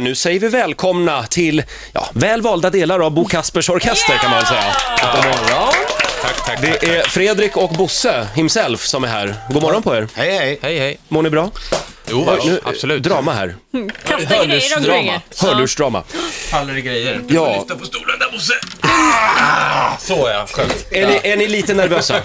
nu säger vi välkomna till ja, väl valda delar av Bo Kaspers orkester kan man väl säga. God morgon. Tack, tack. Det är Fredrik och Bosse himself som är här. God morgon på er. Hej, hej. Hej, hej. Mår ni bra? Jo, Oj, nu- absolut. Drama här. Kasta grejer omkring er. Hörlursdrama. Faller i grejer. Ja, på stolen där, Bosse. Ah! Så ja, skönt. är ni, är ni lite nervösa?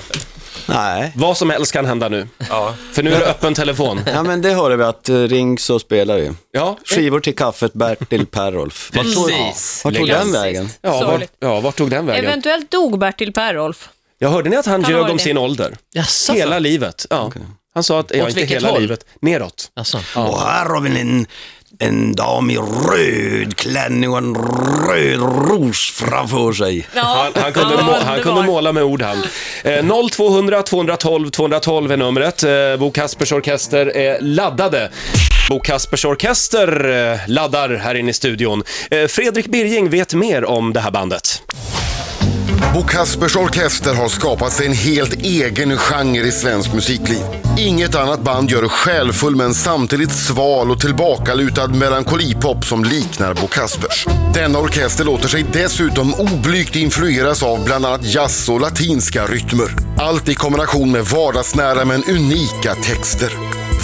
Nej. Vad som helst kan hända nu. Ja. För nu är det öppen telefon. Ja, men det hörde vi att eh, ring så spelar vi. Ja, Skivor till kaffet, Bertil Perolf. Vart tog, Precis. vart tog den Klassiskt. vägen? ja, var, Sorgligt. ja vart tog den vägen? Eventuellt dog Bertil Perolf. Jag hörde ni att han Kan ha ljög varit om det. sin ålder? Jaså? Hela livet. Ja. Han sa att, ja, inte vilket hela håll? livet, neråt. Alltså. Och här har vi en, en dam i röd klänning och en röd ros framför sig. Han, han, kunde, må, han kunde måla med ord han. Eh, 0200 212 212 är numret. Eh, Bo Kaspers Orkester är laddade. Bo Kaspers Orkester eh, laddar här inne i studion. Eh, Fredrik Birging vet mer om det här bandet. Bo Kaspers Orkester har skapat sig en helt egen genre i svensk musikliv. Inget annat band gör själfull men samtidigt sval och tillbakalutad melankolipop som liknar Bo Kaspers. Denna orkester låter sig dessutom oblygt influeras av bland annat jazz och latinska rytmer. Allt i kombination med vardagsnära men unika texter.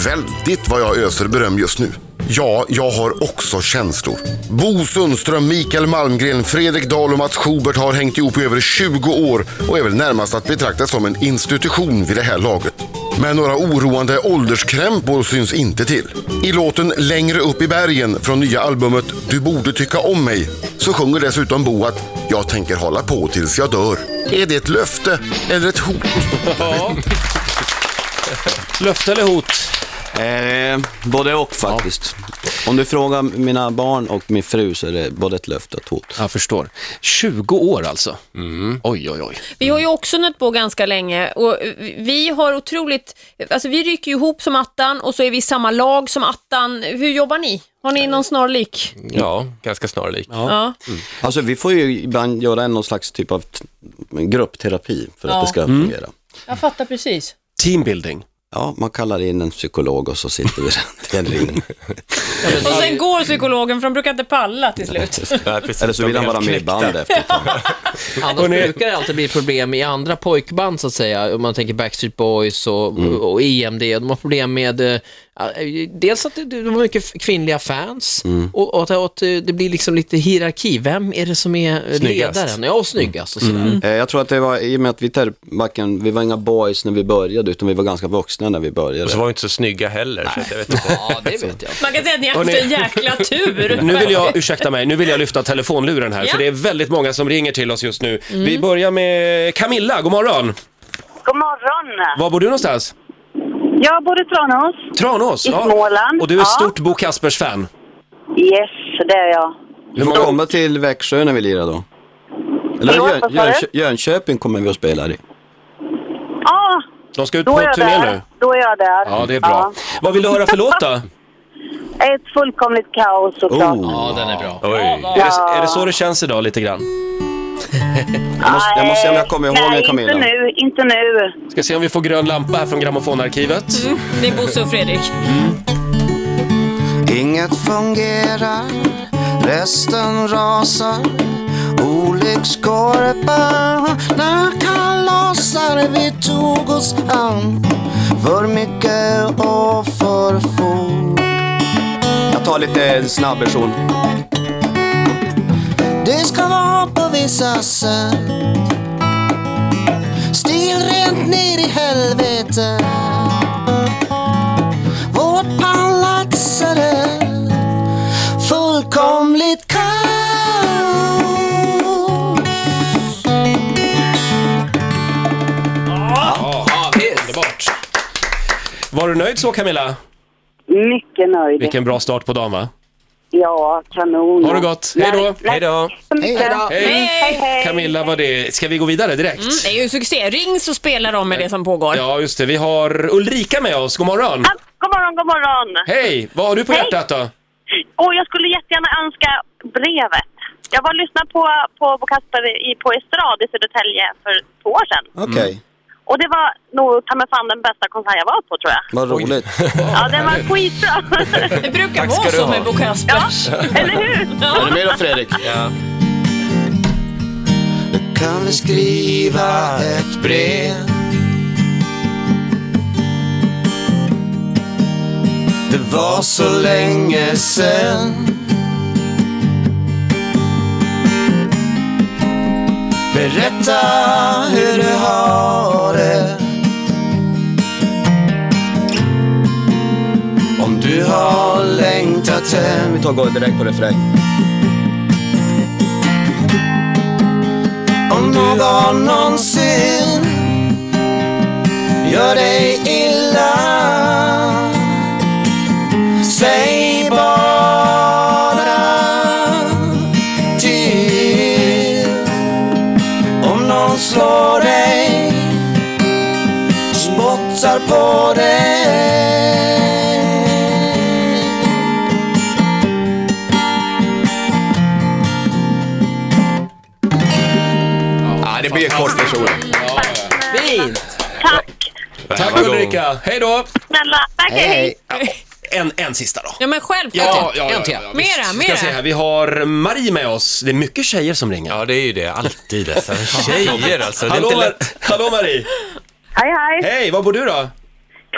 Väldigt vad jag öser beröm just nu. Ja, jag har också känslor. Bo Sundström, Mikael Malmgren, Fredrik Dahl och Mats Schubert har hängt ihop i över 20 år och är väl närmast att betraktas som en institution vid det här laget. Men några oroande ålderskrämpor syns inte till. I låten Längre upp i bergen från nya albumet Du borde tycka om mig så sjunger dessutom Bo att jag tänker hålla på tills jag dör. Är det ett löfte eller ett hot? Löfte eller hot? Eh, både och faktiskt. Om du frågar mina barn och min fru så är det både ett löfte och ett hot. Jag förstår. 20 år alltså. Oj, oj, oj. Vi har ju också nött på ganska länge och vi har otroligt, alltså vi rycker ju ihop som attan och så är vi i samma lag som attan. Hur jobbar ni? Har ni någon snarlik? Ja, ganska snarlik. Ja. Alltså vi får ju ibland göra en- någon slags typ av t- gruppterapi för att Ja. det ska fungera. Jag fattar precis. Teambuilding. Ja, man kallar in en psykolog och så sitter vi i en ring. Och sen går psykologen för de brukar inte palla till slut. Nej, precis. Eller så vill De han är vara med i typ. knäckta. band efter ett tag. Annars Hörrni- brukar det alltid bli problem i andra pojkband så att säga. Om man tänker Backstreet Boys och, och EMD. De har problem med eh, dels att det- de har mycket kvinnliga fans och, och att- och att eh, det blir liksom lite hierarki. Vem är det som är eh, Snyggast. ledaren? Ja, och snyggast och sådär. Eh, Jag tror att det var i och med att vi, tar, varken, vi var inga boys när vi började, utan vi var ganska vuxna när vi började. Och så var vi inte så snygga heller. Så att jag vet inte. Ja, det vet jag. Man kan säga att ni har haft en jäkla tur. Nu vill jag, ursäkta mig, nu vill jag lyfta telefonluren här Ja. för det är väldigt många som ringer till oss just nu. Vi börjar med Camilla, god morgon. God morgon! Var bor du någonstans? Jag bor i Tranås. Tranås? I Småland, Och du är ja. stort Bo Kaspers-fan? Yes, det är jag. Vi får komma till Växjö när vi lirar då. Eller Förlåt, Jön, vad sa du? Jönköping- Jönköping kommer vi att spela i. Ja, De ska ut då på är jag turné där. nu. Då är jag där. Ja, det är bra. Vad vill du höra för låt då? Är Ja, Ett fullkomligt kaos såklart. Oh, Ja, den är bra. Oj. det, är det så det känns idag lite grann? jag, måste, jag måste se om jag Nej, kommer ihåg den Nej, Camilla. inte nu. Inte nu. Ska se om vi får grön lampa här från grammofonarkivet. Mm. Det är Bosse och Fredrik. Inget fungerar, resten rasar Olyckskorparna kalasar Vi tog oss an för mycket och för få Jag tar lite snabb version. Det ska vara på vissa sätt Mm. Stilrent ner i helvete Vårt palats är det fullkomligt kaos Ja, visst. Underbart. Var du nöjd så Camilla? Mycket nöjd. Vilken bra start på dagen va? Ja, kanon. Ha det gott. Hej då. Hej då. Hej då. Hej! Camilla, vad det Ska vi gå vidare direkt? Mm. Det är ju succé. Ring så spelar de med det som pågår. Ja, just det. Vi har Ulrika med oss. God morgon. God morgon, god morgon. Hej! Vad har du på Hej. hjärtat då? Och jag skulle jättegärna önska brevet. Jag var och lyssnade på, på Bo Kasper i, på Estrad i Södertälje för två år sedan. Okej. Och det var nog ta mig fan den bästa konsert jag var på tror jag. Vad roligt. Ja, den var skitbra. Det brukar vara så med Bo Kaspers. Eller hur? Är du med då Fredrik? Du kan väl skriva ett brev Det var så länge sen Berätta hur du har det Om du har längtat hem Vi tar och går direkt på refräng. Om någon någonsin gör dig illa Säg bara till Om någon slår dig spottar på dig Ja, det blir en kort version. Fint! Tack Tack Ulrika, hej då! snälla. Tack, hej. En, en sista då. Ja, men självklart. Ja, ja, ja, ja, ja. Mera, Ska se här, mera. vi har Marie med oss. Det är mycket tjejer som ringer. Ja, det är ju det. Alltid alltså. Tjejer alltså. Det är Hallå, inte lätt. Mar- Hallå Marie! Hej, hej! Hej, var bor du då?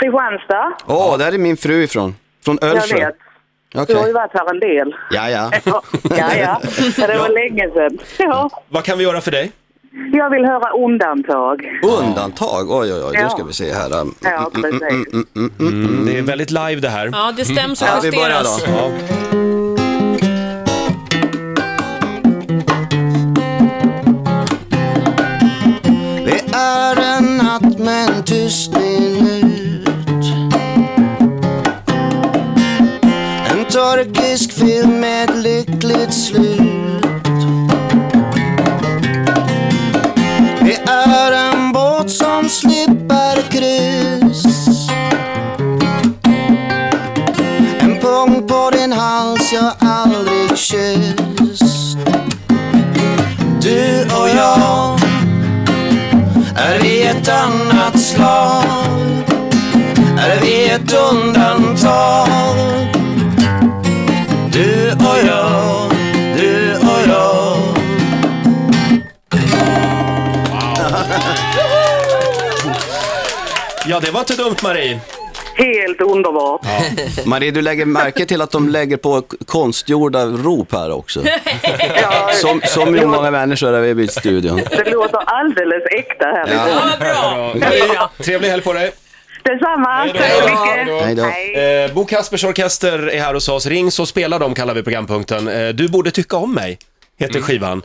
Kristianstad. Åh, där är min fru ifrån. Från Jag Ölsjö. vet. Du Okej. har ju varit här en del. Ja, ja. Ja, ja. ja. Men Det var länge sedan. Ja. Vad kan vi göra för dig? Jag vill höra undantag. Undantag. Oj, oj, oj. Då Ja. ska vi se här. Um, Ja, precis. mm. Mm. Det är väldigt live det här. Ja, det stäms och Ja, vi börjar justeras. då. Ja. Det är en natt med en tyst minut En turkisk film med ett lyckligt slut Det är en båt som slipper kryss En punkt på din hals jag aldrig kysst Du och jag är vi ett annat slag? Är vi ett undantag? Du och jag, du och jag ja, det var inte dumt Marie. Helt underbart. Marie, du lägger märke till att de lägger på k- konstgjorda rop här också. Ja, Som, som hur många människor är vi i studion. det låter alldeles äkta här. Ja. Ja, vad bra. Marie, trevlig helg på dig. Detsamma. Tack så mycket. Hej då. Hej. Eh, Bo Kaspers Orkester är här hos oss. Ring så spelar de kallar vi programpunkten. Eh, du borde tycka om mig, heter skivan.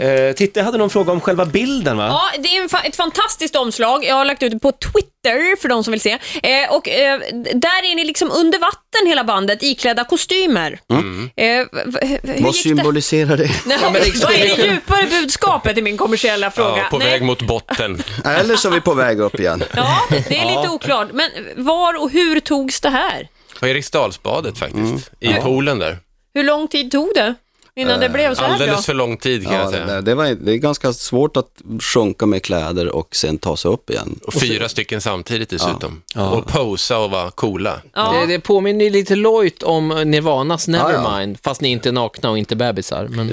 Eh, Titti hade någon fråga om själva bilden va? Ja, det är en fa- ett fantastiskt omslag. Jag har lagt ut det på Twitter för de som vill se. Eh, och, eh, d- där är ni liksom under vatten hela bandet iklädda kostymer. Eh, v- v- hur Vad gick det? symboliserar det? Nej, vad är det djupare budskapet i min kommersiella fråga? Ja, på Nej. väg mot botten. Eller så är vi på väg upp igen. Ja, det är lite oklart. Men var och hur togs det här? På Eriksdalsbadet Mm. faktiskt. I poolen där. Hur lång tid tog det innan det blev så här bra? Alldeles för lång tid kan Ja, jag det, säga. där- det, var, det är ganska svårt att sjunka med kläder och sen ta sig upp igen. Och fyra stycken samtidigt dessutom. Och posa och vara coola. Ja. Det, det påminner ju lite lojt om eh, Nirvanas Nevermind, fast ni är inte nakna och inte bebisar. Men... Men,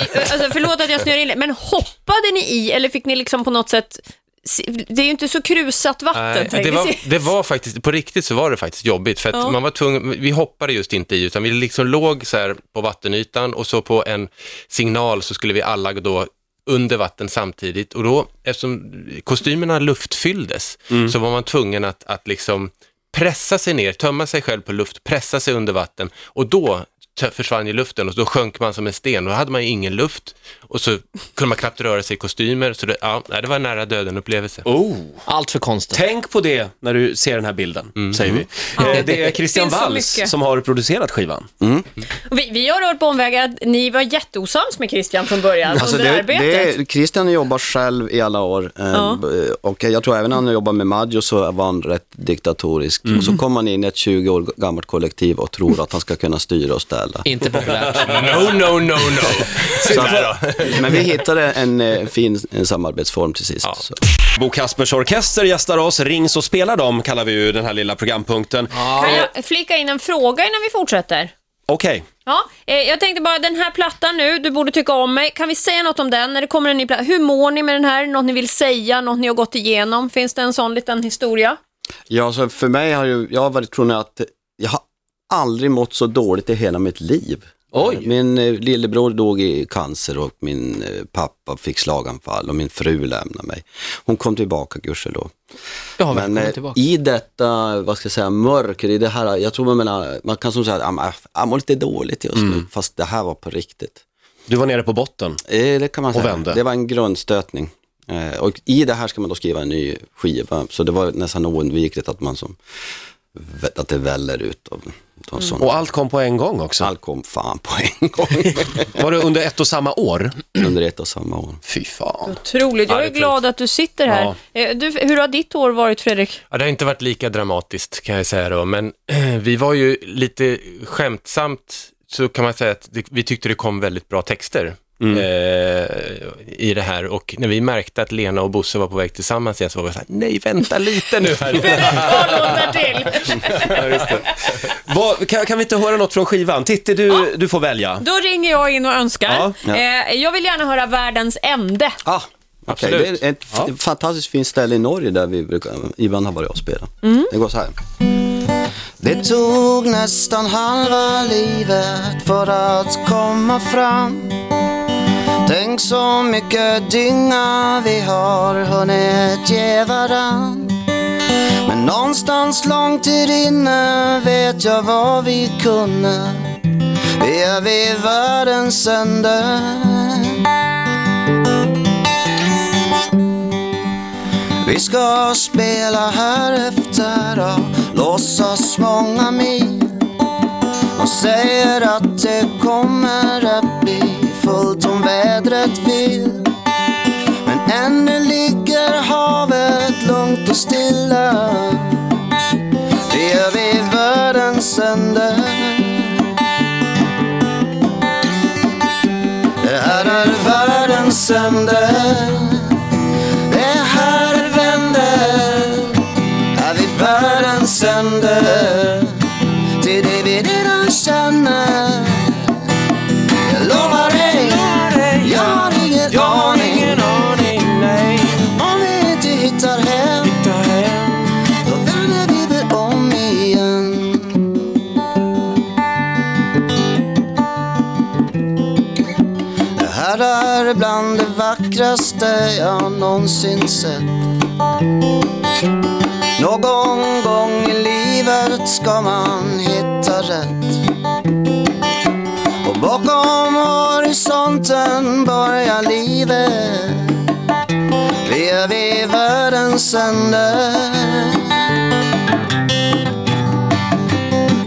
eh, alltså, förlåt att jag snör in det, men hoppade ni i eller fick ni liksom på något sätt se- det är ju inte så krusat vatten. Nej, tänker det, jag. var, det var faktiskt, på riktigt så var det faktiskt jobbigt för att Ja. man var tvungen, vi hoppade just inte i utan vi liksom låg så här på vattenytan och så på en signal så skulle vi alla gå då under vatten samtidigt och då eftersom kostymerna luftfylldes så var man tvungen att, att liksom pressa sig ner, tömma sig själv på luft, pressa sig under vatten och då tö- försvann ju luften och då sjönk man som en sten och då hade man ju ingen luft och så kunde man knappt röra sig i kostymer så det, ja, nej, det var en nära döden upplevelse. Oh. Allt för konstigt. Tänk på det när du ser den här bilden, säger vi. Eh, Det är Christian Finns så Walls mycket. som har producerat skivan. Vi, vi har hört på omvägar att ni var jätteosams med Christian från början under Alltså, det, arbetet. det, Christian jobbar själv i alla år eh, Ja. b- och jag tror även när han jobbade med Maggio så var han rätt diktatorisk. Och så kommer han in i ett 20 år gammalt kollektiv och tror att han ska kunna styra och städa anställda. Inte populärt. No, no, no, no. Så att, men vi hittade en eh, fin eh, samarbetsform till sist. Så. Bo Kaspers Orkester gästar oss, Ring så spelar de kallar vi ju den här lilla programpunkten. Kan jag flika in en fråga innan vi fortsätter? Okej, Ja, eh, jag tänkte bara den här plattan nu, du borde tycka om mig. Kan vi säga något om den när det kommer en ny platta? Hur mår ni med den här? Något ni vill säga? Något ni har gått igenom? Finns det en sån liten historia? Ja, så för mig har ju, jag har varit tvungen att, jag har aldrig mått så dåligt i hela mitt liv. Oj. Min eh, lillebror dog i cancer och min eh, pappa fick slaganfall och min fru lämnade mig. Hon kom tillbaka gudskelov. då. Ja, Men välkommen eh, tillbaka. i detta, vad ska jag säga, mörker, i det här, jag tror man menar, man kan som säga, "Ah, men, jag mår lite dåligt just nu, Mm. fast det här var på riktigt. du var nere på botten. Eh, det kan man Och säga. vände. Det var en grundstötning. Eh, och i det här ska man då skriva en ny skiva, så det var nästan oundvikligt att man som, att det väller ut av, av sån, Och allt kom på en gång också. allt kom fan på en gång Var det under ett och samma år? under ett och samma år. Fy fan. Otroligt, jag är glad att du sitter här. Eh, Du, hur har ditt år varit Fredrik? Ja, det har inte varit lika dramatiskt kan jag säga då, men eh, vi var ju lite skämtsamt så kan man säga att det, vi tyckte det kom väldigt bra texter Mm. eh, i det här och när vi märkte att Lena och Bosse var på väg tillsammans igen så var vi så här, nej vänta lite nu här. Två låtar till. Vad- kan, kan vi inte höra något från skivan? Titti, du, du får välja. Då ringer jag in och önskar. Ja, ja. Eh, jag vill gärna höra världens ände. Ah, okej. Absolut. Det är ett f- fantastiskt fint ställe i Norge där vi brukar, Ivan har varit och spelat. Det går så här. Det tog nästan halva livet för att komma fram Tänk så mycket dynga vi har hunnit ge varann Men någonstans långt där inne vet jag vad vi kunde Vi är vid världens ände Vi ska spela här efter och låtsas många mil och säger att det kommer att bli fullt om vädret vill. Men ännu ligger havet lugnt och stilla. Det är vid världens ände. Det här är världens ände. Det här det vänder. Här vid världens ände till det vi redan känner. Jag lovar dig, jag har ingen aning om vi inte hittar hem. Då vänder vi väl om igen. Det här är bland det vackraste jag någonsin sett. Någon gång i livet ska man hitta rätt. Och bakom horisonten börjar livet. Vi är vid världens ände.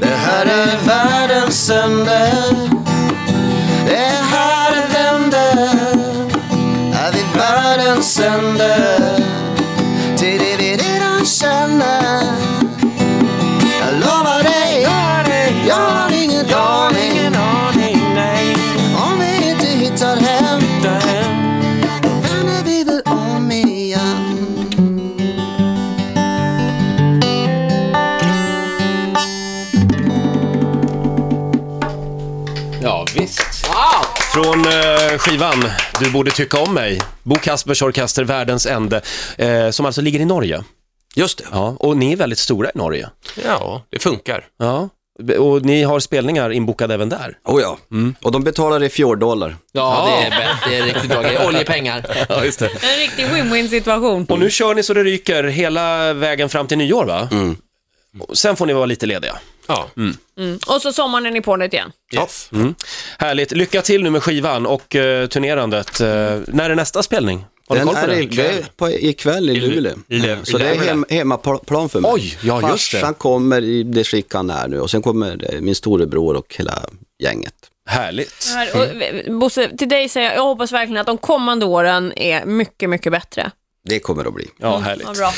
Det här är världens ände. Det här är vänder. Är vi världens ände? till det vi redan känner. Jag lovar dig, jag har ingen aning om vi inte hittar hem. Då vänder vi väl om igen. Ja, visst. Från eh, skivan Du borde tycka om mig. Bo Kaspers Orkester, Världens ände, eh, som alltså ligger i Norge. Just det. Ja, och ni är väldigt stora i Norge. Ja, det funkar. Ja, och ni har spelningar inbokade även där. Oh ja. Och de betalar i fjorddollar. Ja, det är, bäst. det är riktigt bra grejer. Oljepengar. Ja, just det. En riktig win-win situation. Och nu kör ni så det ryker hela vägen fram till nyår, va? Mm. Och Sen får ni vara lite lediga. Ja, Mm. Och så sommaren är ni på det igen. yes. Mm. Härligt. Lycka till nu med skivan och eh, turnerandet. Eh, när är nästa spelning? Har du Den koll på är det? i- det är på, ikväll i Luleå. Luleå. Så det är hem, hemmaplan för mig. Oj, ja, just det. Farsan kommer i det skick han är nu och sen kommer eh, min storebror och hela gänget. Härligt. Här, och, eh, Bosse, till dig säger jag, jag hoppas verkligen att de kommande åren är mycket, mycket bättre. Det kommer att bli. Ja, Ja, härligt. Mm, bra.